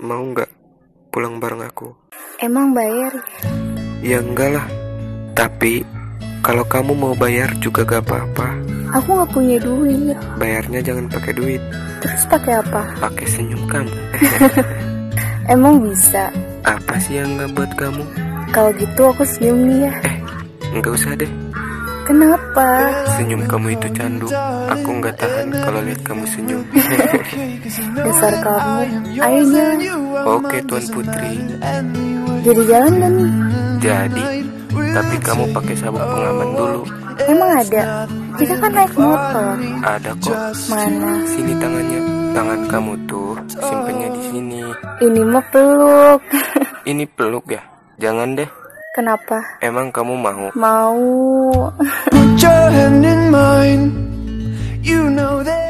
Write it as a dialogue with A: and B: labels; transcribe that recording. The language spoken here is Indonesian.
A: Mau nggak pulang bareng aku?
B: Emang bayar?
A: Ya enggak lah. Tapi kalau kamu mau bayar juga gak apa-apa.
B: Aku nggak punya duit.
A: Bayarnya jangan pakai duit,
B: Terus pakai apa?
A: pakai senyum kamu. Eh,
B: Emang bisa?
A: Apa sih yang nggak buat kamu?
B: Kalau gitu aku senyum nih ya.
A: Nggak usah deh.
B: Kenapa?
A: Senyum kamu itu candu. Aku nggak tahan kalau lihat kamu senyum.
B: Dasar kamu. Ayonya.
A: Oke Tuan Putri.
B: Jadi jalan gak nih?
A: Jadi, tapi kamu pakai sabuk pengaman dulu.
B: Emang ada? Kita kan naik motor.
A: Ada kok.
B: Mana?
A: Sini tangannya. Tangan kamu tuh simpennya di sini.
B: Ini mah peluk.
A: Ini peluk ya. Jangan deh.
B: Kenapa?
A: Emang kamu mau?
B: Mau.
C: Put your hand in mine. You know that